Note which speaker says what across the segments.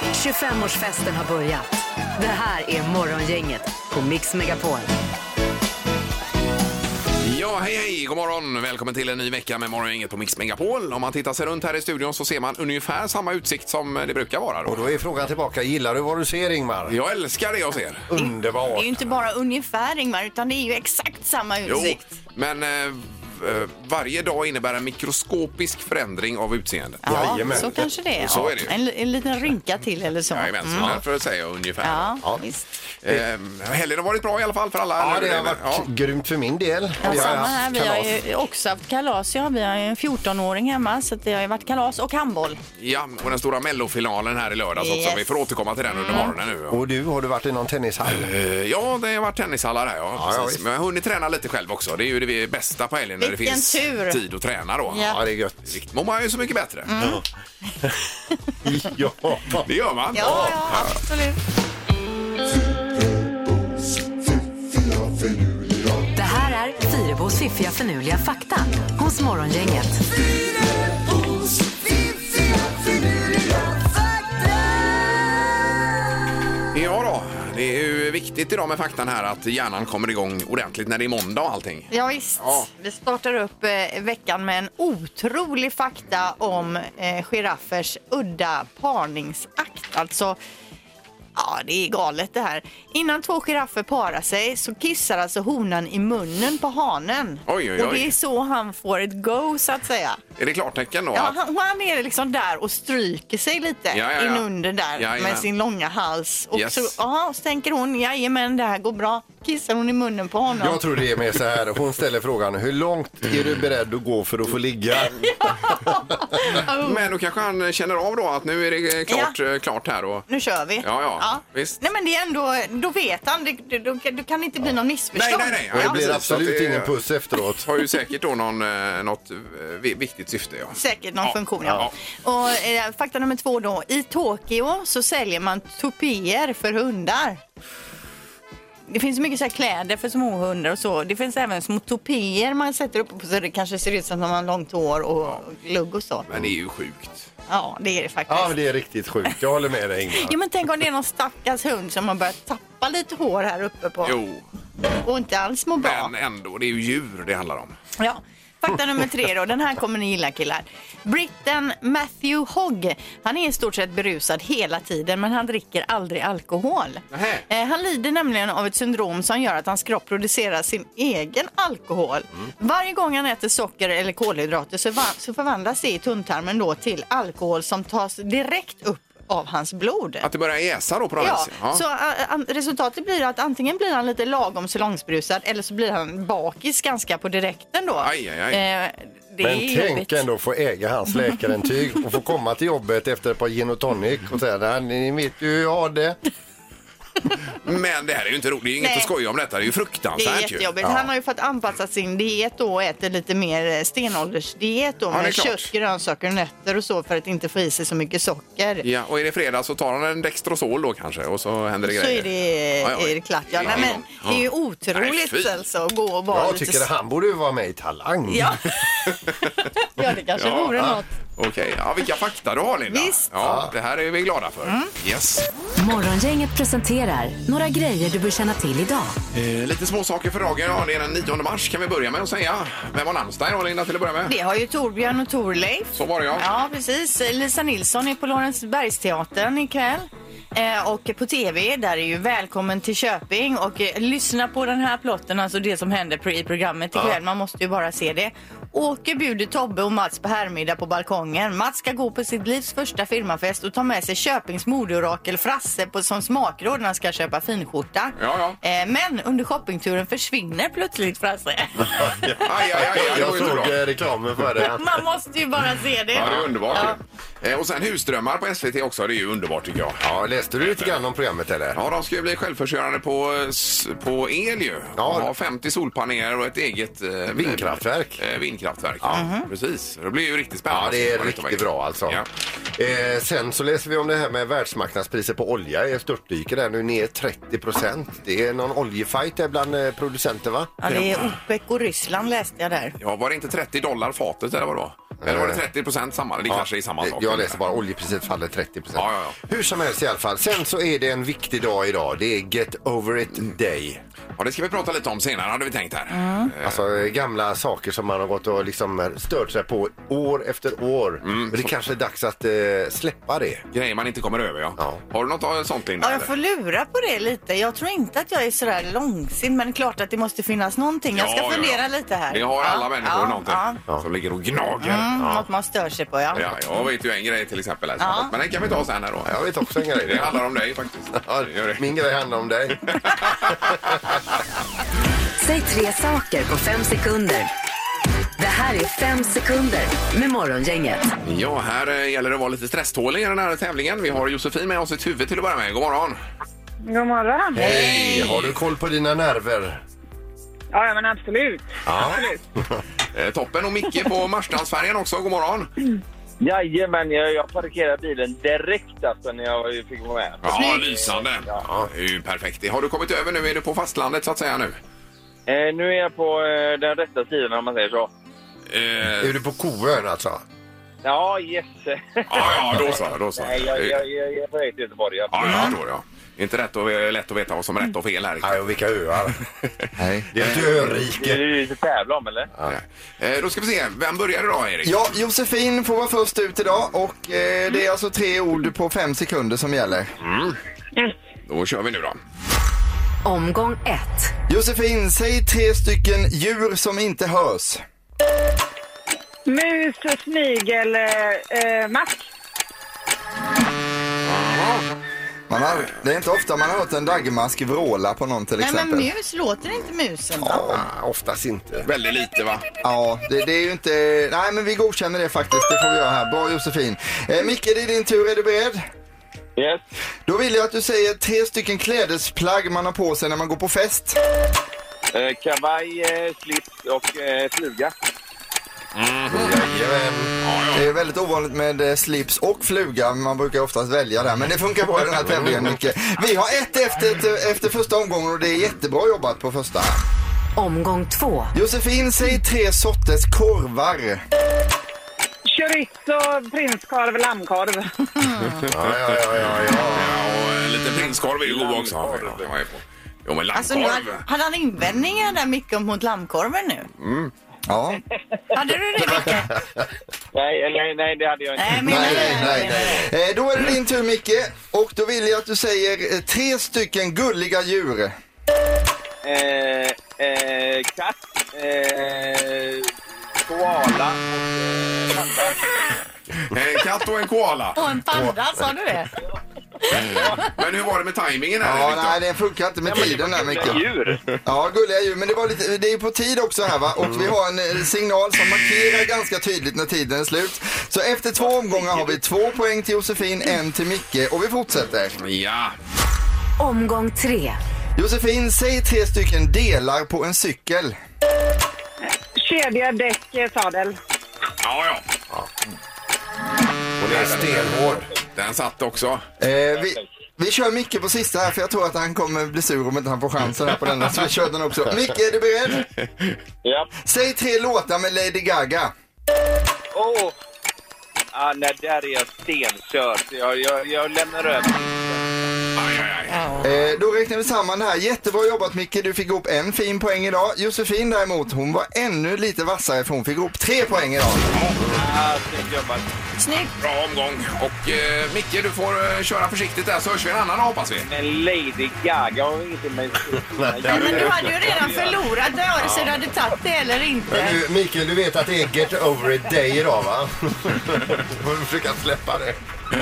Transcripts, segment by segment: Speaker 1: 25-årsfesten har börjat. Det här är Morgongänget på Mix Megapol.
Speaker 2: Ja, hej, hej, god morgon. Välkommen till en ny vecka med Morgongänget på Mix Megapol. Om man tittar sig runt här i studion så ser man ungefär samma utsikt som det brukar vara.
Speaker 3: Och
Speaker 2: Då.
Speaker 3: då är frågan tillbaka, gillar du vad du ser Ingmar?
Speaker 2: Jag älskar det jag ser.
Speaker 4: Det är
Speaker 3: Underbart!
Speaker 4: ju inte bara ungefär Ingmar, utan det är ju exakt samma
Speaker 2: Jo,
Speaker 4: utsikt.
Speaker 2: men eh, eh, varje dag innebär en mikroskopisk förändring av utseendet.
Speaker 4: Ja,
Speaker 3: Jajamän.
Speaker 4: så kanske det är.
Speaker 2: Så är det ju.
Speaker 4: Ja, en, li- en liten rynka till eller så.
Speaker 2: Jajamän, så därför säger jag ungefär.
Speaker 4: Ja,
Speaker 3: Ja.
Speaker 4: visst.
Speaker 2: Eh, helgen har varit bra i alla fall för alla.
Speaker 3: Ja,
Speaker 2: eller hur
Speaker 3: det har
Speaker 2: är det?
Speaker 3: varit grymt för min del.
Speaker 4: Ja,
Speaker 3: Vi har
Speaker 4: samma
Speaker 3: haft
Speaker 4: här. Vi har
Speaker 3: kalas.
Speaker 4: ju också haft kalas. Ja. Vi har ju en 14-åring hemma så att det har ju varit kalas och handboll.
Speaker 2: Ja, och den stora mellofinalen här i lördags också.
Speaker 4: Yes.
Speaker 2: Vi får återkomma till den under morgonen nu.
Speaker 3: Och du, har du varit i någon tennishall?
Speaker 2: Eh, Ja, det har varit tennishallar här. Ja,
Speaker 3: Ja, ja,
Speaker 2: precis.
Speaker 3: visst.
Speaker 2: Men jag har hunnit träna lite själv också. Det är ju det bästa på helgen när det
Speaker 4: Vilken
Speaker 2: finns
Speaker 4: tur.
Speaker 2: tid att träna. Då.
Speaker 4: Ja. Mm.
Speaker 3: Ja, det är gött.
Speaker 2: Riktigt mår man ju så mycket bättre.
Speaker 3: Ja.
Speaker 2: Det gör man.
Speaker 4: Ja, ja, absolut.
Speaker 1: Det här är Fyrebos fiffiga förnuliga fakta hos Morgongänget.
Speaker 2: Ja då, det är ju viktigt idag med faktan här att hjärnan kommer igång ordentligt när det är måndag och allting.
Speaker 4: Ja, visst.
Speaker 2: Ja.
Speaker 4: Vi startar upp eh, veckan med en otrolig fakta om eh, giraffers udda parningsakt. Alltså, ja, det är galet det här. Innan två giraffer parar sig så kissar alltså honan i munnen på hanen.
Speaker 2: Oj, oj,
Speaker 4: Och det
Speaker 2: oj.
Speaker 4: är så han får ett go, så att säga.
Speaker 2: Är det klartecken då?
Speaker 4: Ja,
Speaker 2: att-
Speaker 4: han, han är liksom där och stryker sig lite
Speaker 2: Ja, ja, ja.
Speaker 4: inunder där
Speaker 2: Ja, ja.
Speaker 4: med sin långa hals. Och
Speaker 2: Yes.
Speaker 4: så, aha, så tänker hon, jajamän det här går bra. Kissar hon i munnen på honom.
Speaker 3: Jag tror det är mer så här, hon ställer frågan, hur långt är du beredd att gå för att få ligga?
Speaker 4: Oh.
Speaker 2: Men då kanske han känner av då att nu är det klart, eh, klart här. Och...
Speaker 4: nu kör vi.
Speaker 2: Ja, ja, visst.
Speaker 4: Nej, men det är ändå, då vet han. Det, det, då, kan- då kan det inte bli någon missförstånd.
Speaker 2: Nej, nej, nej.
Speaker 3: Och det
Speaker 2: Ja,
Speaker 3: blir
Speaker 2: precis, så att
Speaker 3: absolut
Speaker 2: det-
Speaker 3: ingen puss efteråt.
Speaker 2: Har ju säkert då någon, eh, något eh, vi- viktigt syfte. Ja.
Speaker 4: Säkert någon
Speaker 2: Ja,
Speaker 4: funktion, ja. Och, eh, fakta nummer två då. I Tokyo så säljer man tupéer för hundar. Det finns mycket så här kläder för små hundar och så. Det finns även små tupéer man sätter upp på så det kanske ser ut som att man har långt hår och lugg och så.
Speaker 2: Men det är ju sjukt.
Speaker 4: Ja, det är det faktiskt.
Speaker 3: Ja, det är riktigt sjukt. Jag håller med dig Ingmar.
Speaker 4: Ja, men tänk om det är någon stackars hund som har börjat tappa lite hår här uppe på
Speaker 2: Jo,
Speaker 4: och inte alls mår bra.
Speaker 2: men ändå. Det är ju djur det handlar om.
Speaker 4: Ja. Fakta nummer tre då, den här kommer ni gilla killar. Britten Matthew Hogg, han är i stort sett berusad hela tiden men han dricker aldrig alkohol.
Speaker 2: Nähä.
Speaker 4: Eh, han lider nämligen av ett syndrom som gör att hans kropp producerar sin egen alkohol. Varje gång han äter socker eller kolhydrater så, va- så förvandlas det i tunntarmen då till alkohol som tas direkt upp av hans blod.
Speaker 2: Att det börjar jäsa då på något
Speaker 4: Ja,
Speaker 2: vis.
Speaker 4: så ä, an- resultatet blir att antingen blir han lite lagom salongsbrusad eller så blir han bakis ganska på direkten då.
Speaker 2: Aj, aj, aj.
Speaker 4: Eh, det
Speaker 3: Men
Speaker 4: är
Speaker 3: tänk
Speaker 4: jobbigt.
Speaker 3: ändå få äga hans läkarintyg och få komma till jobbet efter ett par gin och tonic och säga, "Nej, ni vet ju hur jag har det.
Speaker 2: Men det här är ju inte roligt. Det är ju inget
Speaker 4: Nej.
Speaker 2: att skoja om detta. Det är ju
Speaker 4: Det är
Speaker 2: fruktansvärt ju.
Speaker 4: jättejobbigt. Han har ju fått anpassa sin diet då och äter lite mer eh, stenåldersdiet då
Speaker 2: det är
Speaker 4: med
Speaker 2: klart.
Speaker 4: kött, grönsaker och nötter och så för att inte få i sig så mycket socker.
Speaker 2: Ja, och är det fredag så tar han en Dextrosol då kanske och så händer det
Speaker 4: Så
Speaker 2: grejer.
Speaker 4: är det,
Speaker 2: Oj, oj.
Speaker 4: är det klart. Ja,
Speaker 2: Ja,
Speaker 4: nej,
Speaker 2: ja.
Speaker 4: men, det är ju
Speaker 2: Nej,
Speaker 4: otroligt
Speaker 2: fy.
Speaker 4: alltså att gå och vara
Speaker 3: Jag
Speaker 4: lite...
Speaker 3: tycker
Speaker 4: s-
Speaker 3: han borde ju vara med i Talang.
Speaker 4: Ja. ja, det kanske
Speaker 2: Ja,
Speaker 4: vore
Speaker 2: ja.
Speaker 4: något.
Speaker 2: Okej, ja, vilka fakta du har Linda.
Speaker 4: Visst. Mm.
Speaker 2: Ja, det här är vi glada för. Yes.
Speaker 1: Morgongänget presenterar några grejer du bör känna till idag.
Speaker 2: Eh, lite små saker för dagen. Ja, det är den 9 mars kan vi börja med att säga. Vem har namnsdag idag Linda till att börja med?
Speaker 4: Det har ju Torbjörn och Torleif.
Speaker 2: Så var det ja.
Speaker 4: Ja, precis. Lisa Nilsson är på Lorensbergsteatern ikväll. Eh, och på tv, där är ju Välkommen till Köping. Och eh, lyssna på den här plotten, alltså det som händer pr- i programmet ikväll. Man måste ju bara se det. Åke bjuder Tobbe och Mats på herrmiddag på balkongen. Mats ska gå på sitt livs första firmafest och ta med sig Köpings modeorakel Frasse på, som smakråd när han ska köpa finskjorta.
Speaker 2: Ja, ja.
Speaker 4: Eh, men under shoppingturen försvinner plötsligt Frasse.
Speaker 2: Aj, aj, aj, aj, det var
Speaker 3: Jag
Speaker 2: ju inte
Speaker 3: såg
Speaker 2: bra.
Speaker 3: eh, reklamen för det.
Speaker 4: Man måste ju bara se det.
Speaker 2: Ja, det är underbart.
Speaker 4: Ja.
Speaker 2: Eh, och sen husdrömmar på SVT också. Det är ju underbart tycker jag.
Speaker 3: Ja, läste du lite grann om programmet eller?
Speaker 2: Ja, de ska ju bli självförsörjande på, s- på el ju.
Speaker 3: Ja.
Speaker 2: De har 50 solpaneler och ett eget eh,
Speaker 3: Vindkraftverk.
Speaker 2: Eh, vindkraftverk. Mm-hmm. Precis. Det blir ju riktigt spännande.
Speaker 3: Ja, det är
Speaker 2: Vad kommer
Speaker 3: riktigt
Speaker 2: in.
Speaker 3: bra alltså.
Speaker 2: Ja.
Speaker 3: Eh, sen så läser vi om det här med världsmarknadspriser på olja. Jag störtdyker där nu ner 30 procent. Det är någon oljefight där bland eh, producenter va?
Speaker 4: Ja, det är OPEC och Ryssland läste jag där.
Speaker 2: ja, var det inte 30 dollar fatet eller vad det var? Eller var
Speaker 3: Eh,
Speaker 2: det 30 procent samma? Det kanske är samma sak.
Speaker 3: Jag läser bara oljepriset faller 30 procent.
Speaker 2: Ja, ja,
Speaker 3: Hur som helst i alla fall. Sen så är det en viktig dag idag. Det är Get Over It Day.
Speaker 2: Ja, det ska vi prata lite om senare hade vi tänkt här.
Speaker 3: Alltså eh, gamla saker som man har gått och liksom eh, stört sig på år efter år.
Speaker 2: Mm.
Speaker 3: Men det kanske är dags att eh, släppa det.
Speaker 2: Grejer man inte kommer över ja.
Speaker 3: Ja.
Speaker 2: Har du något eh, sånt Linda?
Speaker 4: Ja, jag
Speaker 2: eller?
Speaker 4: får lura på det lite. Jag tror inte att jag är sådär långsint, men klart att det måste finnas någonting. Jag ska
Speaker 2: Ja, ja, ja.
Speaker 4: fundera lite här.
Speaker 2: Vi har alla
Speaker 4: Ja,
Speaker 2: människor
Speaker 4: ja,
Speaker 2: någonting
Speaker 4: ja.
Speaker 2: som ligger och gnager.
Speaker 4: Mm,
Speaker 2: Ja.
Speaker 4: Något man stör sig på, ja.
Speaker 2: Ja, jag vet ju en grej till exempel. Här, som-
Speaker 4: Ja.
Speaker 2: Men den kan vi ta sen här då.
Speaker 3: Jag vet också en grej.
Speaker 2: Det handlar om dig faktiskt.
Speaker 3: Ja,
Speaker 2: Det gör det.
Speaker 3: Min grej handlar om dig.
Speaker 1: Säg tre saker på fem sekunder. Det här är fem sekunder med Morgongänget.
Speaker 2: Ja, här eh, gäller det att vara lite stresstålig i den här tävlingen. Vi har Josefin med oss i huvudet till att börja med. God morgon!
Speaker 5: God morgon.
Speaker 3: Hej! Har du koll på dina nerver?
Speaker 5: Ja, ja, men absolut. absolut.
Speaker 2: Eh, Toppen och Micke på Marstrandsfärjan också. God morgon!
Speaker 6: Jajamän, jag, jag parkerade bilen direkt alltså när jag fick vara med.
Speaker 2: Ja, lysande! Ja, det är ju perfekt. Har du kommit över nu? Är du på fastlandet så att säga nu?
Speaker 6: Eh, nu är jag på eh, den rätta sidan om man säger så.
Speaker 3: Är du på Koön alltså?
Speaker 6: Ja, yes.
Speaker 2: Ja, ja, då så. Då så.
Speaker 6: Nej, jag, jag, jag, jag är på väg till Göteborg.
Speaker 2: Ja, jag förstår. Ja. Det är inte rätt och, eh, lätt att veta vad som är rätt och fel här.
Speaker 3: Nej, och vilka öar. Nej. Det är ett
Speaker 6: Det är
Speaker 3: örike.
Speaker 6: ju lite tävla om eller?
Speaker 2: Eh, Då ska vi se. Vem börjar idag, Erik?
Speaker 7: Ja, Josefin får vara först ut idag och eh, det är alltså tre ord på fem sekunder som gäller.
Speaker 2: Mm.
Speaker 4: Mm.
Speaker 2: Då kör vi nu då.
Speaker 1: Omgång ett.
Speaker 7: Josefin, säg tre stycken djur som inte hörs.
Speaker 5: Mus, snigel, eh, eh, mask.
Speaker 7: Man har, det är inte ofta man har hört en daggmask vråla på någon till
Speaker 4: Nej, men
Speaker 7: exempel.
Speaker 4: mus, låter inte musen då?
Speaker 3: Ja, Ah, oftast inte.
Speaker 2: Väldigt lite, va?
Speaker 7: Ja, det, det är ju inte... Nej, men vi godkänner det faktiskt. Det får vi göra här. Bra Josefin. Eh, Micke, det är din tur. Är du beredd?
Speaker 6: Yes.
Speaker 7: Då vill jag att du säger tre stycken klädesplagg man har på sig när man går på fest.
Speaker 6: Eh, kavaj, eh, slips och eh, fluga.
Speaker 3: Jajamän.
Speaker 7: Det är väldigt ovanligt med eh, slips och fluga. Man brukar oftast välja där. Men det funkar bra i den här tävlingen, Micke. Vi har ett efter, ett eh, efter första omgången och det är jättebra jobbat på första.
Speaker 1: Omgång två.
Speaker 7: Josefin, säg tre sorters korvar.
Speaker 5: Chorizo, prinskorv, lammkorv.
Speaker 3: Ja, ja, ja, ja, ja.
Speaker 2: Ja, och eh, lite prinskorv är ju god också. Ja, jag är på. Jo, men
Speaker 4: Alltså, nu
Speaker 2: lammkorv.
Speaker 4: hade, hade han invändningar där Micke mot lammkorven nu?
Speaker 7: Ja.
Speaker 4: Hade du det Micke?
Speaker 6: Nej, eller, nej, nej, det hade jag inte.
Speaker 4: Nej, menar
Speaker 7: Nej,
Speaker 4: du?
Speaker 7: nej, nej. Eh, Då är det din tur, Micke. Och då vill jag att du säger eh, tre stycken gulliga djur.
Speaker 6: Eh, eh, katt, eh, koala och eh, panda.
Speaker 2: En Eh, katt och en koala.
Speaker 4: Och en panda, sa du det?
Speaker 2: Men hur var det med tajmingen här,
Speaker 7: Ja,
Speaker 2: Viktor?
Speaker 7: nej, det funkar inte med tiden där, Micke.
Speaker 6: Djur.
Speaker 7: Ja, gulliga djur. Men det, var lite, det är ju på tid också här va? Och vi har en eh, signal som markerar ganska tydligt när tiden är slut. Så efter två omgångar har vi två poäng till Josefin, en till Micke och vi fortsätter.
Speaker 2: Ja.
Speaker 1: Omgång tre.
Speaker 7: Josefin, säg tre stycken delar på en cykel.
Speaker 5: Kedja, däck, eh, sadel.
Speaker 2: ja, ja.
Speaker 3: Hon är stenhård.
Speaker 2: Den satt också.
Speaker 7: Eh, vi, vi kör Micke på sista här för jag tror att han kommer bli sur om inte han får chansen här på denna. Så vi kör den också. Micke, är du beredd?
Speaker 6: Ja.
Speaker 7: Säg tre låtar med Lady Gaga.
Speaker 6: Åh! Ah, nej, där är jag stenkörd. Jag, jag, jag lämnar över.
Speaker 2: Aj, aj, aj.
Speaker 7: Eh, då räknar vi samman det här. Jättebra jobbat Micke, du fick ihop en fin poäng idag. Josefin däremot, hon var ännu lite vassare för hon fick ihop tre poäng idag.
Speaker 6: Ah, snyggt jobbat.
Speaker 4: Snyggt.
Speaker 2: Bra omgång. Och eh, Micke, du får eh, köra försiktigt där så hörs vi en annan dag, hoppas vi.
Speaker 6: Men Lady Gaga har inte med
Speaker 4: Nej, men du hade ju redan förlorat vare sig du hade tagit det eller
Speaker 3: Men
Speaker 4: inte.
Speaker 3: du, Mikael, du vet att det är Get Over It Day idag, va? Får du försöka släppa det.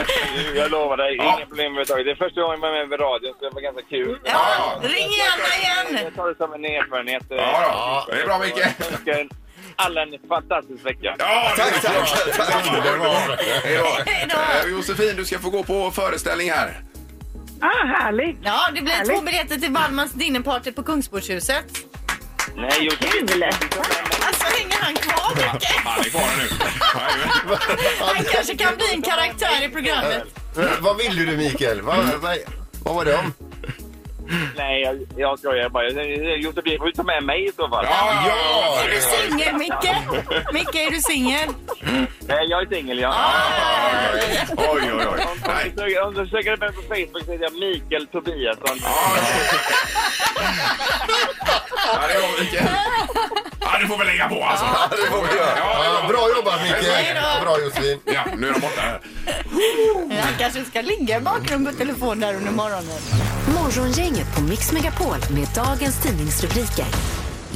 Speaker 6: Jag lovar dig,
Speaker 2: Ja.
Speaker 6: inga problem överhuvudtaget. Det är första gången jag är med vid radion så det var ganska kul.
Speaker 4: Ja, ring gärna igen!
Speaker 6: Jag tar det som en erfarenhet.
Speaker 2: Ja, då. Det är bra, Micke.
Speaker 6: Jag önskar er alla en fantastisk vecka.
Speaker 2: Ja, det
Speaker 7: Tack,
Speaker 2: är bra.
Speaker 7: tack, tack.
Speaker 2: Underbart. Hej
Speaker 4: Hej
Speaker 2: då.
Speaker 4: då.
Speaker 2: Eh, Josefin, du ska få gå på föreställning här.
Speaker 5: Ah, härligt.
Speaker 4: Ja, det blir två
Speaker 5: Härligt.
Speaker 4: biljetter till Wallmans dinnerparty på Kungsportshuset.
Speaker 6: Nej, Josefin.
Speaker 5: Kul!
Speaker 4: Alltså, hänger han kvar mycket?
Speaker 2: Han är kvar nu. Jajamän.
Speaker 4: Han kanske kan bli en karaktär i programmet.
Speaker 3: Vad vill du, Mikael? Vad, vad, vad var det om?
Speaker 6: Nej, jag, jag skojar bara. Josefin får ju ta med mig i så fall.
Speaker 2: Ja, ja,
Speaker 4: Är du singel, Micke? Micke, är du singel?
Speaker 6: Nej, jag är singel, ja.
Speaker 2: Oj, oj, oj.
Speaker 6: Om
Speaker 2: Nej.
Speaker 6: du söker- Om du söker mig på Facebook så heter jag Mikael Tobiasson.
Speaker 2: Ja, det var Mikael. Ja, du får väl lägga på alltså.
Speaker 3: Ja, det får vi göra.
Speaker 2: Ja,
Speaker 3: Ja, bra jobbat
Speaker 4: Hej
Speaker 3: Micke!
Speaker 4: då.
Speaker 3: Bra Josefin.
Speaker 2: Ja, nu är de borta här.
Speaker 4: Han kanske ska ligga i bakgrunden på telefon där under morgonen.
Speaker 1: Morgongänget på Mix Megapol med dagens tidningsrubriker.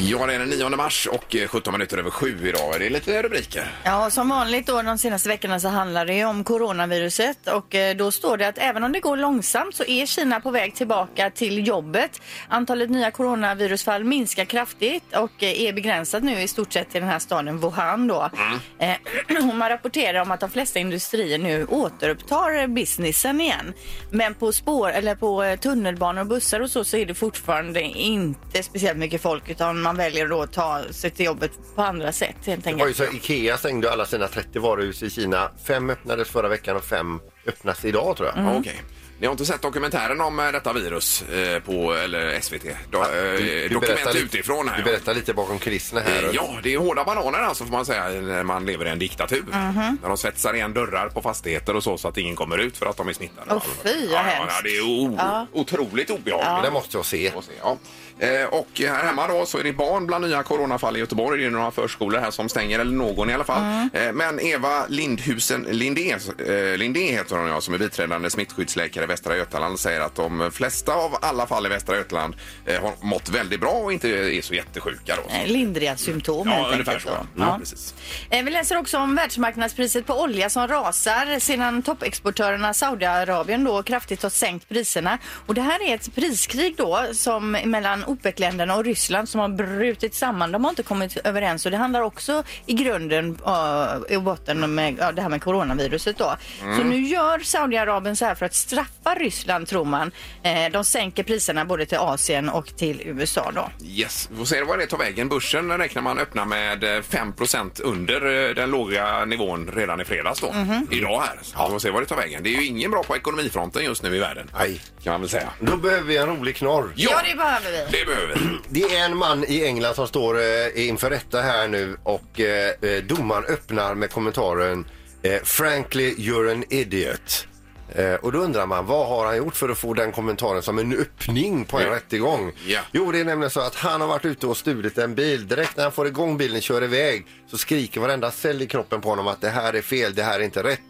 Speaker 2: Ja, det är den 9 mars och eh, 17 minuter över sju idag. Det är lite rubriker.
Speaker 4: Ja, och som vanligt då de senaste veckorna så handlar det ju om coronaviruset och eh, då står det att även om det går långsamt så är Kina på väg tillbaka till jobbet. Antalet nya coronavirusfall minskar kraftigt och eh, är begränsat nu i stort sett till den här staden Wuhan då. Eh, och man rapporterar om att de flesta industrier nu återupptar eh, businessen igen. Men på spår eller på eh, tunnelbanor och bussar och så så är det fortfarande inte speciellt mycket folk utan man väljer då att ta sig till jobbet på andra sätt helt
Speaker 3: Det var ju
Speaker 4: enkelt.
Speaker 3: så Ikea stängde alla sina 30 varuhus i Kina. Fem öppnades förra veckan och fem öppnas idag tror jag.
Speaker 2: Ja, Okej. Ni har inte sett dokumentären om eh, detta virus eh, på eller SVT? Do, eh, dokument
Speaker 3: lite-
Speaker 2: utifrån här.
Speaker 3: Du
Speaker 2: ja.
Speaker 3: berättar lite bakom kulisserna
Speaker 2: Eh,
Speaker 3: här.
Speaker 2: Ja, det är hårda bananer alltså får man säga när man lever i en diktatur.
Speaker 4: Mhm.
Speaker 2: När de svetsar igen dörrar på fastigheter och så så att ingen kommer ut för att de är smittade.
Speaker 4: Åh, fy,
Speaker 2: ja,
Speaker 4: vad
Speaker 2: ja,
Speaker 4: hemskt.
Speaker 2: ja, det är o-
Speaker 4: Ja.
Speaker 2: otroligt
Speaker 3: Men
Speaker 2: obehagligt.
Speaker 3: Det måste jag se.
Speaker 2: Får se, Ja. Eh, Och här hemma då så är det barn bland nya coronafall i Göteborg. Det är några förskolor här som stänger, eller någon i alla fall.
Speaker 4: Mm.
Speaker 2: Eh, Men Eva Lindhusen Lindé, eh, Lindé heter hon ja, som är biträdande smittskyddsläkare i Västra Götaland säger att de flesta av alla fall i Västra Götaland eh, har mått väldigt bra och inte är så jättesjuka då.
Speaker 4: Eh, Lindriga symptom
Speaker 2: Ja,
Speaker 4: helt
Speaker 2: ungefär
Speaker 4: enkelt.
Speaker 2: så.
Speaker 4: då.
Speaker 2: Ja,
Speaker 4: Ja.
Speaker 2: precis.
Speaker 4: Eh, Vi läser också om världsmarknadspriset på olja som rasar sedan toppexportörerna Saudiarabien då kraftigt har sänkt priserna. Och det här är ett priskrig då som mellan OPEC-länderna och Ryssland som har brutit samman. De har inte kommit överens och det handlar också i grunden eh, i botten med ja, det här med coronaviruset då. Så
Speaker 2: Mm.
Speaker 4: nu gör Saudiarabien så här för att straffa Ryssland tror man. Eh, De sänker priserna både till Asien och till USA då.
Speaker 2: Yes, vi får se vad det tar vägen. Börsen räknar man öppna med eh, 5 under eh, den låga nivån redan i fredags då. Idag här. Så vi får se vad det tar vägen. Det är ju ingen bra på ekonomifronten just nu i världen.
Speaker 3: Nej.
Speaker 2: Kan man väl säga.
Speaker 3: Då behöver vi en rolig knorr.
Speaker 4: Ja, det behöver vi.
Speaker 2: det behöver vi.
Speaker 3: Det är en man i England som står eh, inför rätta här nu och eh, eh, domaren öppnar med kommentaren eh, “Frankly, you're an idiot”. Eh, och då undrar man, vad har han gjort för att få den kommentaren som en öppning på en
Speaker 2: Ja.
Speaker 3: rättegång?
Speaker 2: Ja.
Speaker 3: Jo, det är nämligen så att han har varit ute och stulit en bil. Direkt när han får igång bilen och kör iväg så skriker varenda cell i kroppen på honom att det här är fel, det här är inte rätt.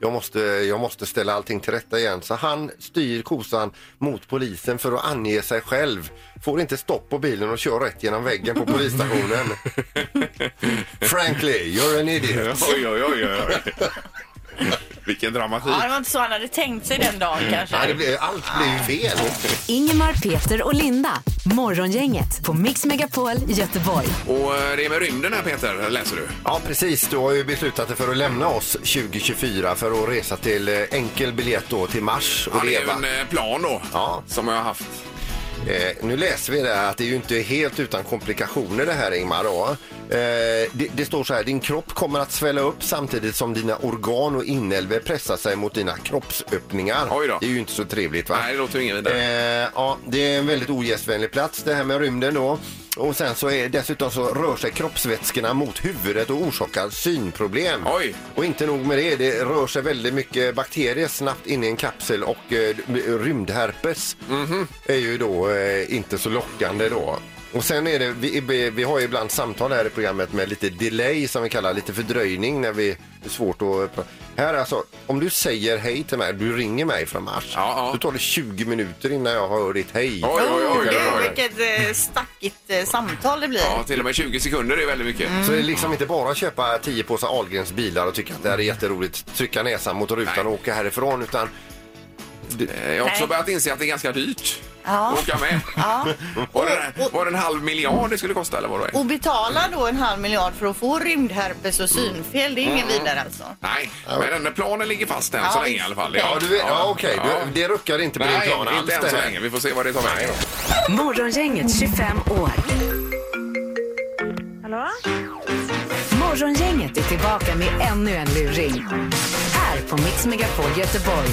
Speaker 3: Jag måste, jag måste ställa allting till rätta igen. Så han styr kosan mot polisen för att ange sig själv. Får inte stopp på bilen och kör rätt genom väggen på polisstationen. Frankly, you're an idiot.
Speaker 2: Oj, oj, oj, oj. Vilken dramatik.
Speaker 4: Ja, det var inte så han hade tänkt sig den dagen
Speaker 2: Mm.
Speaker 4: kanske.
Speaker 3: Nej, det blir, allt blir ju fel.
Speaker 1: Ingemar, Peter och Linda. Morgongänget på Mix Megapol Göteborg.
Speaker 2: Och eh, det är med rymden här Peter, läser du.
Speaker 3: Ja, precis. Du har ju beslutat dig för att lämna oss 2024 för att resa till eh, enkel biljett då till Mars och
Speaker 2: Ja, det är ju
Speaker 3: leva.
Speaker 2: en eh, plan då.
Speaker 3: Ja.
Speaker 2: Som jag har haft.
Speaker 3: Eh, nu läser vi det här att det är ju inte helt utan komplikationer det här Ingmar. Då. Eh, det, det står så här, din kropp kommer att svälla upp samtidigt som dina organ och inälvor pressar sig mot dina kroppsöppningar.
Speaker 2: Oj då.
Speaker 3: Det är ju inte så trevligt va?
Speaker 2: Nej, det låter ju ingen vidare.
Speaker 3: Eh, ja, det är en väldigt ogästvänlig plats det här med rymden då. Och sen så är, dessutom så rör sig kroppsvätskorna mot huvudet och orsakar synproblem.
Speaker 2: Oj.
Speaker 3: Och inte nog med det, det rör sig väldigt mycket bakterier snabbt in i en kapsel och eh, rymdherpes
Speaker 2: Mhm.
Speaker 3: är ju då eh, inte så lockande då. Och sen är det, vi, vi- vi har ju ibland samtal här i programmet med lite delay som vi kallar lite fördröjning när vi det är svårt att... pra- Här alltså, om du säger hej till mig, du ringer mig från Mars,
Speaker 2: Ja, ja.
Speaker 3: då tar det 20 minuter innan jag hör ditt hej.
Speaker 2: Oj, oj,
Speaker 4: Oh,
Speaker 2: oj, oj,
Speaker 4: gud,
Speaker 2: oj.
Speaker 4: vilket eh, stackigt eh, samtal det blir.
Speaker 2: Ja, till och med 20 sekunder är väldigt mycket.
Speaker 3: Så det är liksom inte bara att köpa 10 påsar Ahlgrens bilar och tycka att det här är jätteroligt, trycka näsan mot rutan
Speaker 2: Nej.
Speaker 3: och åka härifrån, utan
Speaker 2: Eh, Jag har också
Speaker 4: Nej.
Speaker 2: börjat inse att det är ganska dyrt
Speaker 4: Ja.
Speaker 2: att åka med. Var, det, var det en halv miljard det skulle kosta eller vad det är?
Speaker 4: Och betala då en halv miljard för att få rymdherpes och synfel, det är
Speaker 2: Mm.
Speaker 4: ingen vidare alltså.
Speaker 2: Nej, men den där planen ligger fast än så
Speaker 4: Ja,
Speaker 2: länge i
Speaker 4: visst.
Speaker 2: alla fall.
Speaker 3: Ja, du vet, ja, okej.
Speaker 2: Ja.
Speaker 3: Du, det ruckar inte på din
Speaker 2: Nej,
Speaker 3: plan alls
Speaker 2: inte än
Speaker 3: det
Speaker 2: så
Speaker 3: här.
Speaker 2: länge. Vi får se vad det tar vägen.
Speaker 1: Morgongänget 25 år.
Speaker 5: Hallå?
Speaker 1: Morgongänget är tillbaka med ännu en luring. Här på Mix Megapol Göteborg.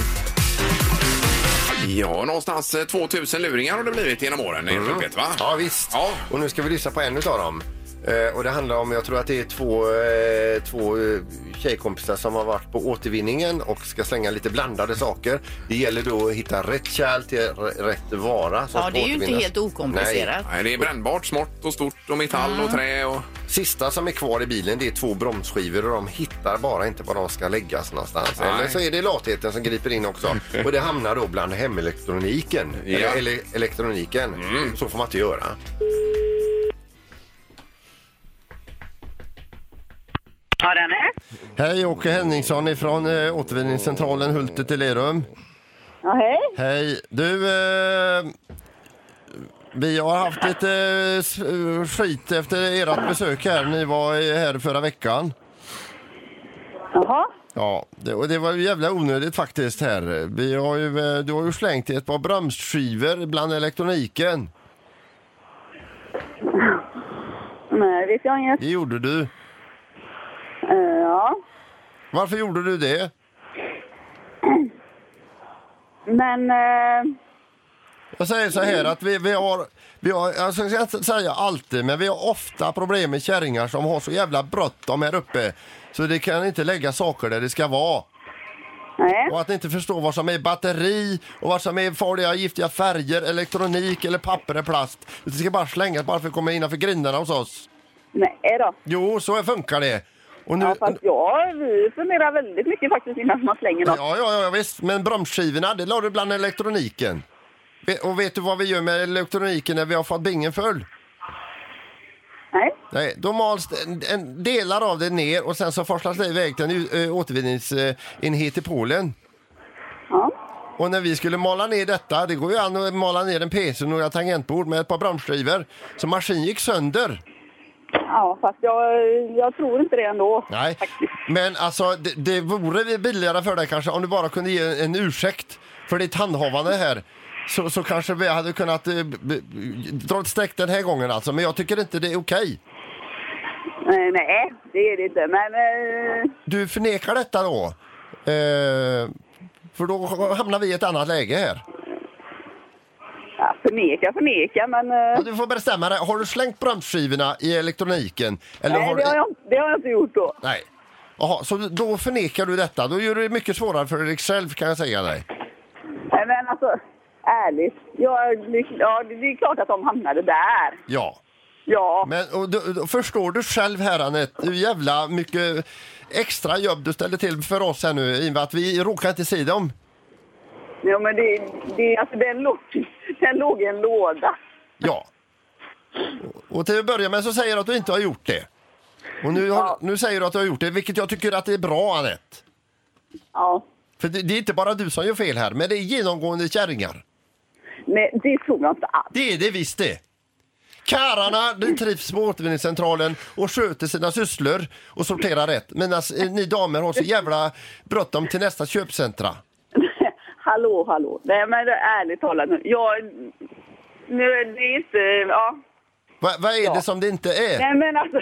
Speaker 2: Ja, någonstans eh, 2000 luringar har det blivit genom åren i Ropet, va?
Speaker 3: Mm. Ja, visst.
Speaker 2: Ja.
Speaker 3: Och nu ska vi lyssna på en utav dem. Eh, och det handlar om, jag tror att det är två, eh, två eh, tjejkompisar som har varit på återvinningen och ska slänga lite blandade saker. Det gäller då att hitta rätt kärl till r- rätt vara. Som
Speaker 4: Ja,
Speaker 3: ska
Speaker 4: det är ju inte
Speaker 3: återvinnas.
Speaker 4: helt okomplicerat.
Speaker 2: Nej, det är brännbart, smått och stort och metall
Speaker 4: Mm.
Speaker 2: och trä och...
Speaker 3: Nej. Sista som är kvar i bilen det är två bromsskivor och de hittar bara inte var de ska läggas någonstans.
Speaker 2: Nej.
Speaker 3: Eller så är det latheten som griper in också. och det hamnar då bland hemelektroniken.
Speaker 2: Ja.
Speaker 3: Eller ele- elektroniken. Så får man inte göra.
Speaker 5: Ja, den är.
Speaker 3: Hej, Åke Henningsson ifrån eh, återvinningscentralen Hultet i Lerum.
Speaker 5: Ja, hej.
Speaker 3: Hej. Du, eh, vi har haft lite eh, s- skit efter ert besök här. Ni var eh, här förra veckan.
Speaker 5: Jaha.
Speaker 3: Ja, det, och det var ju jävla onödigt faktiskt här. Vi har ju, eh, du har ju slängt ett par bromsskivor bland elektroniken.
Speaker 5: Nej, vet jag inget.
Speaker 3: Det gjorde du.
Speaker 5: eh, ja.
Speaker 3: Varför gjorde du det?
Speaker 5: Men... eh,
Speaker 3: Jag säger så här att vi, vi har, vi har, jag ska inte säga alltid, men vi har ofta problem med kärringar som har så jävla bråttom här uppe. Så det kan inte lägga saker där det ska vara.
Speaker 5: nej.
Speaker 3: Och att ni inte förstår vad som är batteri och vad som är farliga giftiga färger, elektronik eller papper eller plast. Det ska bara slängas bara för att komma innanför grindarna hos oss.
Speaker 5: Nej eh, då.
Speaker 3: Jo, så funkar det. Och nu,
Speaker 5: ja, vi funderar väldigt mycket faktiskt innan man slänger
Speaker 3: ja, ja, ja, visst. Men bromsskivorna, det la du bland elektroniken. Ve- Och vet du vad vi gör med elektroniken när vi har fått bingen full?
Speaker 5: Nej.
Speaker 3: Nej, då mals det- en, en delar av det ner och sen så forslas det iväg till en u- eh, återvinningsenhet i Polen.
Speaker 5: Ja.
Speaker 3: Och när vi skulle mala ner detta, det går ju an att mala ner en PC och några tangentbord med ett par bromsskivor. Så maskinen gick sönder.
Speaker 5: Ja, fast jag, jag tror inte det ändå.
Speaker 3: Nej, men alltså det, det vore vi billigare för dig kanske om du bara kunde ge en, en ursäkt för ditt handhavande här. Så, så kanske vi hade kunnat eh, b- b- dra ett streck den här gången alltså. Men jag tycker inte det är okej.
Speaker 5: Eh, nej, det är det inte. Men eh,
Speaker 3: Du förnekar detta då? Eh, för då hamnar vi i ett annat läge här.
Speaker 5: ja, förneka, förneka. Men eh,
Speaker 3: Ja, du får bestämma dig. Har du slängt bromsskivorna i elektroniken? Eller
Speaker 5: nej,
Speaker 3: har
Speaker 5: det,
Speaker 3: du...
Speaker 5: har jag, det har jag inte gjort då.
Speaker 3: Nej. Jaha, så då förnekar du detta. Då gör du det mycket svårare för dig själv kan jag säga dig.
Speaker 5: Nej, men alltså, ärligt. Jag, ja, det är klart att de hamnade där.
Speaker 3: Ja.
Speaker 5: Ja,
Speaker 3: Men och, du, du, förstår du själv här Anette, hur jävla mycket extra jobb du ställer till för oss här nu i och med att vi råkar inte se dem.
Speaker 5: ja men det, det, alltså, den, låg, den låg i en låda.
Speaker 3: Ja. Och till att börja med så säger du att du inte har gjort det. Och nu, har, nu säger du att du har gjort det, vilket jag tycker att det är bra Anette.
Speaker 5: Ja.
Speaker 3: För det, det är inte bara du som gör fel här, men det är genomgående kärringar.
Speaker 5: Nej, det tror jag inte alls.
Speaker 3: Det är det visst det. Karlarna de trivs på återvinningscentralen och sköter sina sysslor och sorterar rätt. Medan eh, ni damer har så jävla bråttom till nästa köpcentra.
Speaker 5: hallå, hallå. Nej, men ärligt talat nu. Jag... Nu är det inte... Ja.
Speaker 3: Va, vad är det
Speaker 5: Ja.
Speaker 3: som det inte är?
Speaker 5: Nej, men alltså,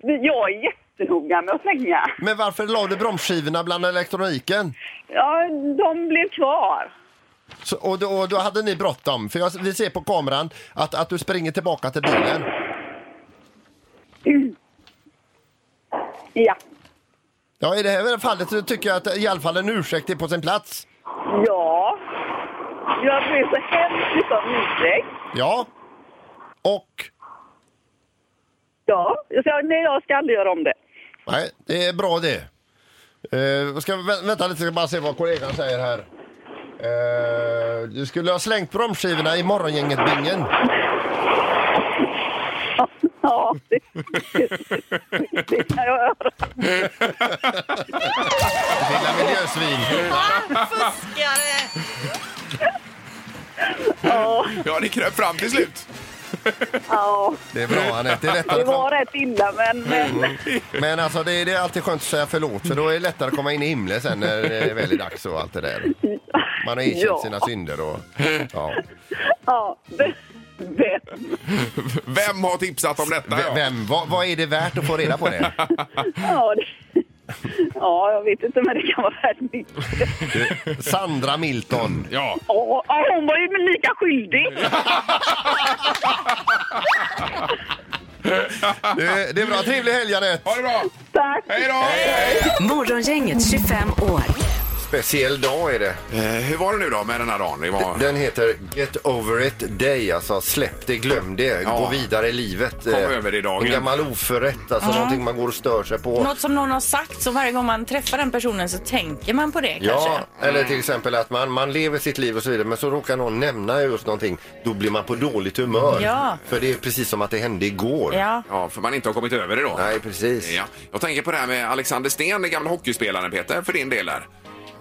Speaker 5: jag är jättenoga med att slänga.
Speaker 3: Men varför la du bromsskivorna bland elektroniken?
Speaker 5: Ja, de blev kvar.
Speaker 3: Så, och, då, och då hade ni bråttom, för jag, vi ser på kameran att, att du springer tillbaka till bilen.
Speaker 5: Ja.
Speaker 3: Ja, i det här fallet så tycker jag att i alla fall en ursäkt är på sin plats.
Speaker 5: Ja. Jag blev så hemskt mycket om ursäkt.
Speaker 3: Ja. Och
Speaker 5: Ja. Jag sa, nej, jag ska aldrig göra om det.
Speaker 3: Nej, det är bra det. Eh, ska vi vä- vänta lite, ska bara se vad kollegan säger här. Eh, du skulle ha slängt bromsskivorna i morgongänget-bingen.
Speaker 5: Ja, det, det kan jag göra.
Speaker 3: Lilla miljösvin.
Speaker 4: Ah, fuskare!
Speaker 2: Ja, det kröp fram till slut.
Speaker 5: Ja,
Speaker 3: Det är bra Anette, det är lättare.
Speaker 5: det
Speaker 3: att komma-
Speaker 5: var rätt illa, men...
Speaker 3: Mm.
Speaker 5: men
Speaker 3: Men alltså det är, det är alltid skönt att säga förlåt för då är det lättare att komma in i himlen sen när det är väl är dags och allt det där. Man har erkänt
Speaker 5: Ja.
Speaker 3: sina synder och... Ja.
Speaker 5: ja, det, det.
Speaker 2: Vem har tipsat om detta?
Speaker 3: V-
Speaker 2: ja?
Speaker 3: Vem, vad, vad är det värt att få reda på det?
Speaker 5: Ja, det. Ja, jag vet inte men det kan vara värt mycket.
Speaker 3: Sandra Milton.
Speaker 2: Ja.
Speaker 5: Ja, ja, hon var ju lika skyldig.
Speaker 3: Det, det är bra. Trevlig helg, Anette.
Speaker 2: Ha det bra!
Speaker 5: Tack!
Speaker 2: Hej då! Hej.
Speaker 1: Morgongänget 25 år.
Speaker 3: Speciell dag är det.
Speaker 2: Eh, hur var det nu då med den här dagen? Det var...
Speaker 3: Den heter Get over it day, alltså släpp det, glöm det,
Speaker 2: Ja.
Speaker 3: gå vidare i livet.
Speaker 2: Kom över det dagen.
Speaker 3: En gammal oförrätt, alltså någonting man går och stör sig på.
Speaker 4: Något som någon har sagt, så varje gång man träffar den personen så tänker man på det
Speaker 3: Ja,
Speaker 4: kanske. Mm.
Speaker 3: eller till exempel att man, man lever sitt liv och så vidare men så råkar någon nämna just någonting, då blir man på dåligt humör.
Speaker 4: Ja.
Speaker 3: För det är precis som att det hände igår.
Speaker 4: Ja.
Speaker 2: Ja, för man inte har kommit över det då.
Speaker 3: Nej, precis.
Speaker 2: Ja. Jag tänker på det här med Alexander Sten, den gamla hockeyspelaren Peter, för din del där.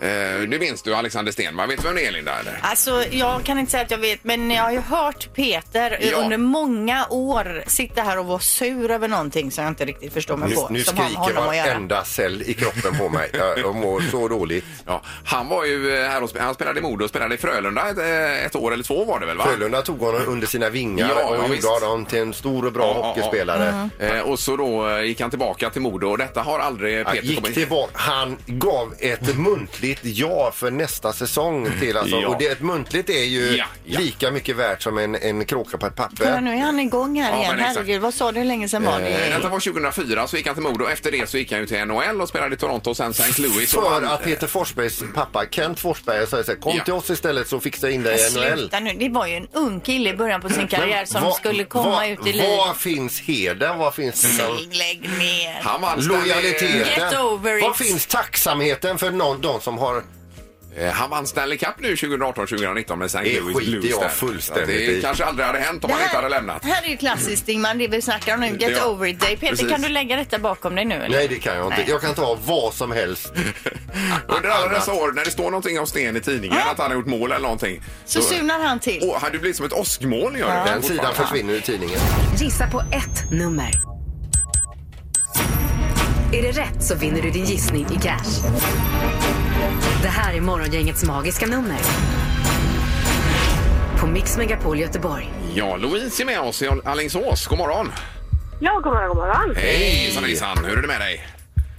Speaker 2: Eh, det minns du Alexander Sten, va? Vet du vem det är Linda? Eller?
Speaker 4: Alltså, jag kan inte säga att jag vet, men jag har ju hört Peter
Speaker 2: Ja.
Speaker 4: under många år sitta här och vara sur över någonting som jag inte riktigt förstår mig
Speaker 3: Nu,
Speaker 4: på.
Speaker 3: nu
Speaker 4: som har med
Speaker 3: skriker
Speaker 4: honom att göra.
Speaker 3: varenda cell i kroppen på mig. Jag, jag mår så dåligt.
Speaker 2: Ja, han var ju eh, här och spe- han spelade i Modo och spelade i Frölunda ett, eh, ett år eller två var det väl? Va?
Speaker 3: Frölunda tog honom under sina vingar
Speaker 2: Ja, ja,
Speaker 3: och
Speaker 2: visst.
Speaker 3: gjorde honom till en stor och bra
Speaker 2: Ja, ja, ja.
Speaker 3: hockeyspelare.
Speaker 4: Mm.
Speaker 2: Eh, och så då eh, gick han tillbaka till Modo och detta har aldrig
Speaker 3: Ja,
Speaker 2: Peter
Speaker 3: gick
Speaker 2: kommit...
Speaker 3: tillbaka. Han gav ett muntligt ja för nästa säsong till alltså.
Speaker 2: Ja.
Speaker 3: Och det, ett muntligt är ju
Speaker 2: Ja, ja.
Speaker 3: lika mycket värt som en, en kråka på ett
Speaker 4: Kolla,
Speaker 3: papper.
Speaker 4: nu är han igång här
Speaker 2: Ja,
Speaker 4: igen.
Speaker 2: men exakt.
Speaker 4: Herregud, vad sa du hur länge sedan
Speaker 2: Eh,
Speaker 4: var det?
Speaker 2: Detta var 2004, så gick han till Modo. Efter det så gick han ju till NHL och spelade i Toronto och sen St. Louis. och
Speaker 3: För
Speaker 2: han-
Speaker 3: att Peter Forsbergs pappa Kent Forsberg säger så här, kom
Speaker 2: Ja.
Speaker 3: till oss istället så fixar jag in dig i NHL.
Speaker 4: Sluta nu, det var ju en ung kille i början på sin karriär som
Speaker 3: vad-
Speaker 4: skulle komma
Speaker 3: vad-
Speaker 4: ut i livet.
Speaker 3: Vad finns heden? Vad finns liksom,
Speaker 2: Mm.
Speaker 4: Säg, lägg ner.
Speaker 2: Han vann Stanley-
Speaker 3: lojaliteten?
Speaker 4: Get over it.
Speaker 3: Vad finns tacksamheten för någon, de som har...
Speaker 2: Eh, Han vann Stanley Cup nu 2018-2019 med St.
Speaker 3: Det
Speaker 2: Louis
Speaker 3: skiter
Speaker 2: Blues.
Speaker 3: jag
Speaker 2: där.
Speaker 3: fullständigt
Speaker 2: Så Det
Speaker 3: i.
Speaker 2: kanske aldrig hade hänt om
Speaker 4: Det
Speaker 2: han inte hade lämnat.
Speaker 4: här är ju klassiskt Ingmar, det vi snackar om nu. Get
Speaker 2: Ja,
Speaker 4: over it day. Peter,
Speaker 2: precis.
Speaker 4: kan du lägga detta bakom dig nu? Eller?
Speaker 3: Nej, det kan jag inte.
Speaker 4: Nej.
Speaker 3: Jag kan ta vad som helst.
Speaker 2: Under alla dessa år när det står någonting om Sten i tidningen, att han har gjort mål eller någonting.
Speaker 4: Så surnar han till.
Speaker 2: Åh, han- du blir som ett åskmoln gör du.
Speaker 3: Den sidan försvinner ur tidningen.
Speaker 1: Gissa på ett nummer. Är det rätt så vinner du din gissning i cash. Det här är Morgongängets magiska nummer. På Mix Megapol Göteborg.
Speaker 2: Ja, Louise är med oss i Alingsås. God morgon!
Speaker 8: Ja, god morgon, god morgon.
Speaker 2: Hej, hejsan, hejsan! Hur är det med dig?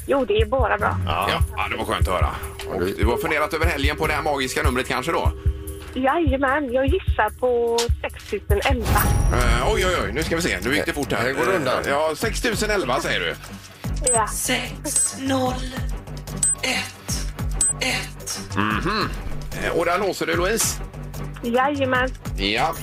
Speaker 8: Jo, det är bara bra.
Speaker 2: Ja. ja, det var skönt att höra. Och du har funderat över helgen på det här magiska numret kanske då?
Speaker 8: Jajamän, jag gissar på 6011.
Speaker 2: Eh, oj, oj, oj, nu ska vi se. Nu gick det fort här. Eh,
Speaker 3: Här går Eh, det undan.
Speaker 2: Ja, 6011 säger du.
Speaker 8: Ja.
Speaker 2: Eh, Och där låser du Louise.
Speaker 8: Jajamän.
Speaker 2: Ja.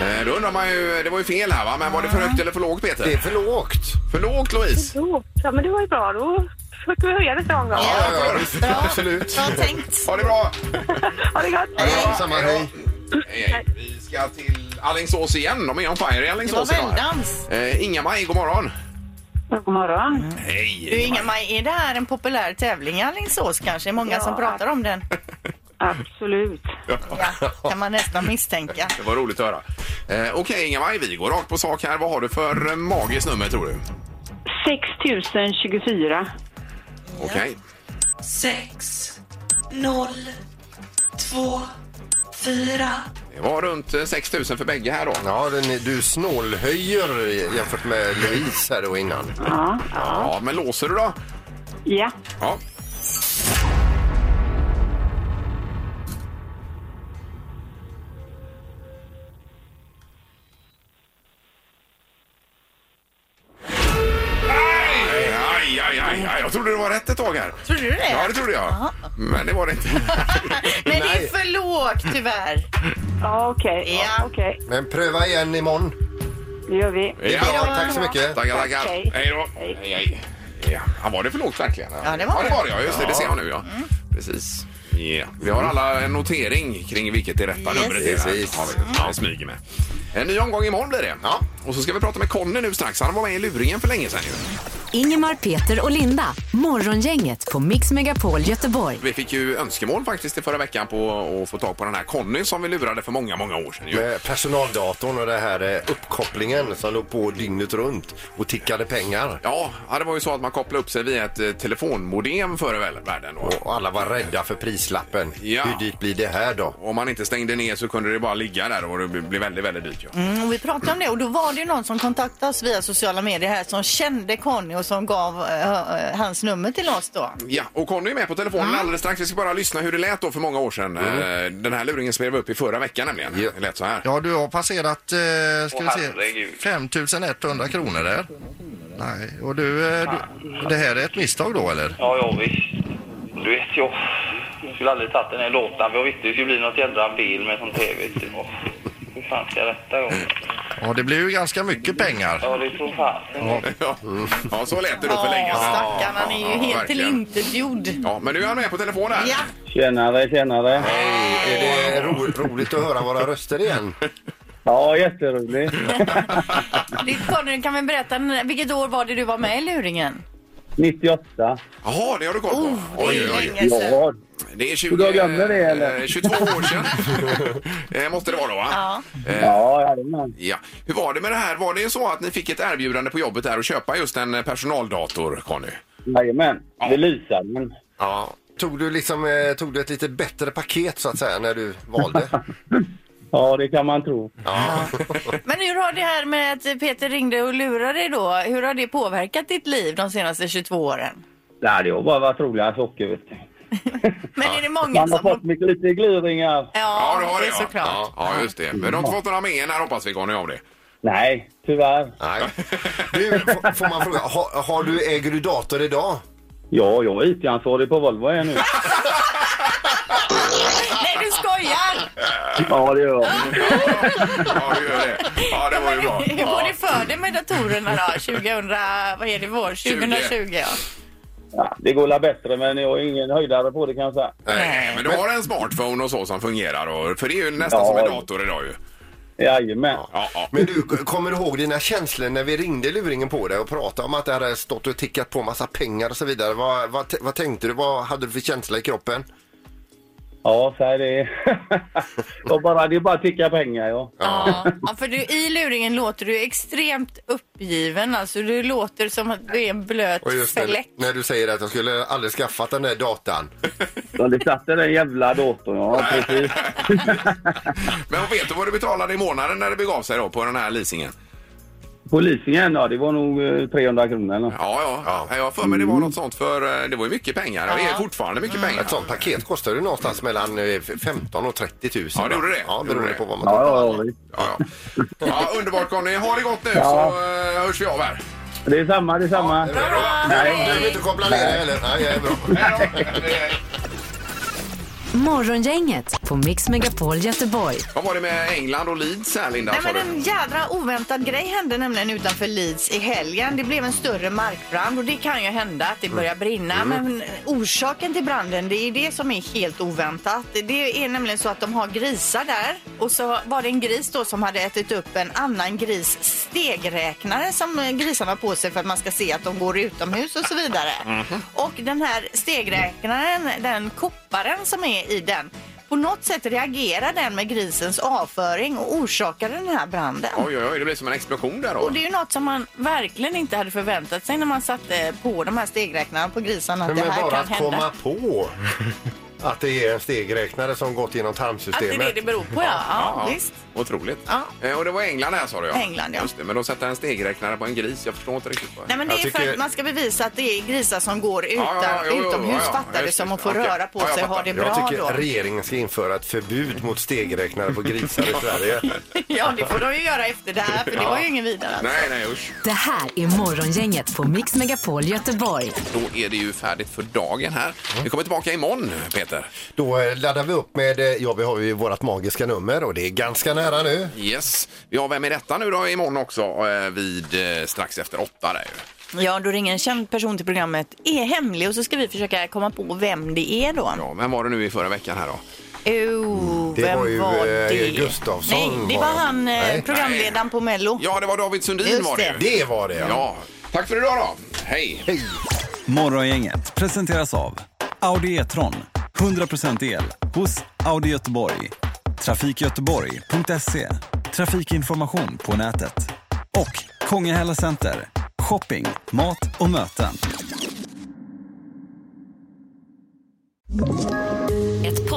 Speaker 2: Eh, Då undrar man ju, det var ju fel här va? Men var det för högt eller för lågt Peter?
Speaker 3: Det är för lågt.
Speaker 2: För lågt Louise?
Speaker 8: Jo, ja, men det var ju bra. Då fick vi höja nästa gång. då.
Speaker 3: Ja, ja, visst. Absolut.
Speaker 4: Bra tänkt.
Speaker 2: Ha det bra!
Speaker 8: Ha det gott!
Speaker 3: Ja, samma hej.
Speaker 2: Eh, Vi ska till Alingsås igen. De är on fire i
Speaker 4: Det var
Speaker 2: Alingsås idag.
Speaker 4: väldans.
Speaker 2: Eh, Inga-Maj, god morgon!
Speaker 5: God morgon.
Speaker 4: Mm.
Speaker 2: Hej!
Speaker 4: Du Inga-Maj, är det här en populär tävling i Alingsås kanske? Det är många
Speaker 8: Ja.
Speaker 4: som pratar om den.
Speaker 5: Absolut.
Speaker 4: Ja, kan man nästan misstänka.
Speaker 2: Det var roligt att höra. Eh, Okej Inga-Maj, vi går rakt på sak här. Vad har du för eh, magiskt nummer tror du?
Speaker 5: 6024.
Speaker 2: Okej. Det var runt eh, 6 000 för bägge här då.
Speaker 3: Ja, den är, du snålhöjer jämfört med Louise här då innan.
Speaker 5: Ja.
Speaker 2: Ja, men låser du då?
Speaker 5: ja.
Speaker 2: Ja. Aj, aj, aj, aj, aj. Jag trodde det var rätt ett tag här.
Speaker 4: Tror du det?
Speaker 2: Ja, det trodde jag. Men det var det inte.
Speaker 4: Nej, det är för lågt tyvärr.
Speaker 5: Ja, okej.
Speaker 4: Ja.
Speaker 5: Okej,
Speaker 3: Men pröva igen imorgon.
Speaker 5: det gör vi.
Speaker 3: Det är bra, tack så mycket.
Speaker 2: Tackar, tackar.
Speaker 5: Hej.
Speaker 2: Hej då. Hej, hej. Ja, han var det för lågt verkligen?
Speaker 4: Ja, det var
Speaker 2: ja, det.
Speaker 4: det.
Speaker 2: Var det ja. Just det, det ser jag nu. Ja. Precis. Ja. Vi har alla en notering kring vilket det rätta
Speaker 4: Yes.
Speaker 2: numret är.
Speaker 3: Precis.
Speaker 2: Ja, vi ja. vi smyger med. En ny omgång imorgon blir det.
Speaker 3: Ja.
Speaker 2: Och så ska vi prata med Conny nu strax. Han var med i luringen för länge sedan ju.
Speaker 1: Ingemar, Peter och Linda. Morgongänget på Mix Megapol Göteborg.
Speaker 2: Vi fick ju önskemål faktiskt i förra veckan på att få tag på den här Conny som vi lurade för många, många år sedan. Ju.
Speaker 3: Med personaldatorn och den här eh, uppkopplingen som låg på dygnet runt och tickade pengar.
Speaker 2: Ja, ja, det var ju så att man kopplade upp sig via ett eh, telefonmodem förr i väl- världen. Då.
Speaker 3: Och alla var rädda för prislappen.
Speaker 2: Ja.
Speaker 3: Hur dyrt blir det här då?
Speaker 2: Om man inte stängde ner så kunde det bara ligga där och det blev väldigt, väldigt dyrt. Ja.
Speaker 4: Mm, och vi pratade om det och då var det ju någon som kontaktade oss via sociala medier här som kände Conny och som gav eh, eh, hans nummer till oss då.
Speaker 2: Ja, och Conny är med på telefonen alldeles strax. Vi ska bara lyssna hur det lät då för många år sedan. Eh, Den här luringen spelade vi upp i förra veckan nämligen.
Speaker 3: Ja.
Speaker 2: Det lät så här.
Speaker 9: Ja, du har passerat eh, ska
Speaker 6: Åh,
Speaker 9: vi se,
Speaker 6: herregud.
Speaker 9: 5100 kronor där. Nej, och du, eh, du, det här är ett misstag då eller?
Speaker 10: Ja, ja visst. Du vet, jag skulle aldrig tagit den här låten. för Jag visste det skulle bli något jädra bil med sån tv. Typ. Och Hur fan ska jag rätta då?
Speaker 9: Ja, det blir ju ganska mycket pengar.
Speaker 10: Ja, det tror fasen.
Speaker 2: Ja. ja, så lät det då för länge sedan.
Speaker 4: stackarn, han är ju
Speaker 2: Ja,
Speaker 4: helt
Speaker 2: verkligen.
Speaker 4: tillintetgjord.
Speaker 2: Ja, men nu är han med på telefon här.
Speaker 4: Ja,
Speaker 10: Tjenare, tjenare.
Speaker 3: Är det ro roligt att höra våra röster igen?
Speaker 10: Ja, jätteroligt.
Speaker 4: det är Conny, kan vi berätta, när- vilket år var det du var med i luringen?
Speaker 10: 98.
Speaker 2: Jaha, det har du koll på.
Speaker 4: Oh, det
Speaker 2: Oj,
Speaker 4: är
Speaker 2: oj, oj.
Speaker 4: länge sedan.
Speaker 2: Det är 20,
Speaker 10: Hur gammal är det, eller?
Speaker 2: eh, 22 år sedan. Eh, Måste det vara då, va?
Speaker 4: Ja.
Speaker 10: Ja, jajamän.
Speaker 2: Ja. Hur var det med det här? Var det så att ni fick ett erbjudande på jobbet där att köpa just en eh, personaldator, Conny?
Speaker 10: Jajamän. Det lyser, men...
Speaker 3: Ja. Tog du, liksom, eh, tog du ett lite bättre paket så att säga när du valde?
Speaker 10: Ja, det kan man tro.
Speaker 4: Men hur har det här med att Peter ringde och lurade dig då, hur har det påverkat ditt liv de senaste 22 åren?
Speaker 10: Nej, det har bara varit roliga saker, vet du.
Speaker 4: Men är det många
Speaker 10: Man
Speaker 4: som...
Speaker 10: har fått mycket lite gliringar.
Speaker 4: Ja,
Speaker 2: du har
Speaker 4: det är såklart.
Speaker 2: Ja, ja, just det. Men de har inte fått några med en här hoppas vi, Conny, om det.
Speaker 10: Nej, tyvärr.
Speaker 3: Nej. Du, f- får man fråga, har, har du, äger du dator idag?
Speaker 10: Ja, jag är IT-ansvarig på Volvo är jag nu.
Speaker 4: Nej, du skojar!
Speaker 10: Ja, det gör jag.
Speaker 2: Ja, du gör det. Ja, det var ju bra.
Speaker 4: Hur var det för dig med datorerna då? 2000, vad är det, vår? 2020? Ja.
Speaker 10: Ja, det går la bättre, men jag är ingen höjdare på det kan jag säga.
Speaker 2: Nej, men du har en smartphone och så som fungerar. Och, för det är ju nästan
Speaker 10: Ja.
Speaker 2: som en dator idag ju.
Speaker 10: Jajamän.
Speaker 2: Ja, ja.
Speaker 3: Men du, k- kommer du ihåg dina känslor när vi ringde luringen på dig och pratade om att det hade stått och tickat på massa pengar och så vidare? Vad, vad, t- vad tänkte du? Vad hade du för känsla i kroppen?
Speaker 10: Ja, så är det. och bara, det är bara att ticka pengar, ja.
Speaker 4: Ja. ja, för du, i luringen låter du extremt uppgiven. Alltså, du låter som att du är en blöt
Speaker 3: Och just när,
Speaker 4: fläck.
Speaker 3: när du säger att jag skulle aldrig skaffat den där datan.
Speaker 10: Ja, det satt i den jävla datorn, ja. Precis.
Speaker 2: Men vet du vad du betalade i månaden när det begav sig då på den här leasingen?
Speaker 10: På leasingen, ja, det var nog eh, 300 kronor eller nåt.
Speaker 2: Ja, ja. ja. Jag har för mig det
Speaker 10: Mm.
Speaker 2: var något sånt för eh, det var ju mycket pengar. Det är fortfarande mycket pengar.
Speaker 3: Ett sånt paket kostar ju någonstans mellan eh, 15 och 30 000.
Speaker 2: Ja, det gjorde det.
Speaker 3: Ja,
Speaker 2: Det gjorde
Speaker 3: beroende
Speaker 2: det.
Speaker 3: på vad man
Speaker 10: Ja,
Speaker 3: tar.
Speaker 10: ja, ja, visst.
Speaker 2: Ja, ja. ja, underbart Conny. Ha det gott nu
Speaker 10: Ja.
Speaker 2: så eh, hörs vi av här.
Speaker 10: Det är samma, det är samma.
Speaker 3: Du behöver inte koppla ner dig heller. Nej, jag är bra.
Speaker 2: Hej då. Eh,
Speaker 1: Morgongänget på Mix Megapol Göteborg.
Speaker 2: Vad var det med England och Leeds här Linda?
Speaker 4: Nej,
Speaker 2: sa
Speaker 4: men
Speaker 2: du?
Speaker 4: en jädra oväntad grej hände nämligen utanför Leeds i helgen. Det blev en större markbrand och det kan ju hända att det börjar brinna.
Speaker 2: Mm.
Speaker 4: Men orsaken till branden, det är det som är helt oväntat. Det är nämligen så att de har grisar där och så var det en gris då som hade ätit upp en annan gris stegräknare som eh, grisarna har på sig för att man ska se att de går utomhus och så vidare.
Speaker 2: Mhm.
Speaker 4: Och den här stegräknaren, den kopparen som är i den, på något sätt reagerar den med grisens avföring och orsakar den här branden.
Speaker 2: Oj, oj, oj, det blev som en explosion där då.
Speaker 4: Och det är ju något som man verkligen inte hade förväntat sig när man satte på de här stegräknarna på grisarna att
Speaker 3: Men
Speaker 4: det här
Speaker 3: bara
Speaker 4: kan
Speaker 3: att
Speaker 4: hända.
Speaker 3: komma på att det är en stegräknare som gått genom
Speaker 4: Att det är det
Speaker 3: tarmsystemet.
Speaker 4: det beror på, ja. ja,
Speaker 2: Ja,
Speaker 4: visst.
Speaker 2: Otroligt.
Speaker 4: Ja.
Speaker 2: Eh, Och det var England här sa du ja.
Speaker 4: England, ja.
Speaker 2: Just det, men de sätter en stegräknare på en gris. Jag förstår inte riktigt. Vad...
Speaker 4: Nej, men det
Speaker 3: Jag
Speaker 4: är för
Speaker 3: tycker-
Speaker 4: att man ska bevisa att det är grisar som går utan,
Speaker 2: ja, ja, jo, jo,
Speaker 4: utomhus,
Speaker 2: ja, ja,
Speaker 4: fattar du
Speaker 2: just
Speaker 4: som,
Speaker 2: det.
Speaker 4: och får
Speaker 2: Okej.
Speaker 4: röra på
Speaker 2: Ja, jag
Speaker 4: sig och ha
Speaker 2: fattar.
Speaker 4: det
Speaker 3: Jag
Speaker 4: bra
Speaker 3: tycker
Speaker 4: då.
Speaker 3: regeringen ska införa ett förbud mot stegräknare på grisar i Sverige.
Speaker 4: Ja, det får de ju göra efter det här, för det var ju ingen vidare. alltså.
Speaker 2: Nej, nej, usch.
Speaker 1: Det här är Morgongänget på Mix Megapol Göteborg.
Speaker 2: Då är det ju färdigt för dagen här. Vi kommer tillbaka imorgon, Peter.
Speaker 3: Då eh, laddar vi upp med, eh, ja vi har ju vårt magiska nummer och det är ganska nära nu.
Speaker 2: Yes. Vi har Vem är detta nu då imorgon också eh, vid eh, strax efter åtta där ju.
Speaker 4: Ja, då ringer en känd person till programmet, är hemlig och så ska vi försöka komma på vem det är då.
Speaker 2: Ja, vem var det nu i förra veckan här då?
Speaker 4: Oh,
Speaker 3: Det
Speaker 4: vem
Speaker 3: var ju,
Speaker 4: var
Speaker 3: eh,
Speaker 4: det?
Speaker 3: Gustafsson
Speaker 4: Nej, det
Speaker 3: var
Speaker 4: var
Speaker 3: det.
Speaker 4: han, eh,
Speaker 3: Nej.
Speaker 4: programledaren på Mello.
Speaker 2: Ja, det var David Sundin
Speaker 4: Just
Speaker 2: var det. ju.
Speaker 3: Det var det ja.
Speaker 2: Ja. Tack för idag då. Hej!
Speaker 6: Morgongänget presenteras av Audi E-tron. 100% el hos Audi Göteborg. Trafikgöteborg.se. Trafikinformation på nätet. Och Kongahälla Center. Shopping, mat och möten.
Speaker 11: Ett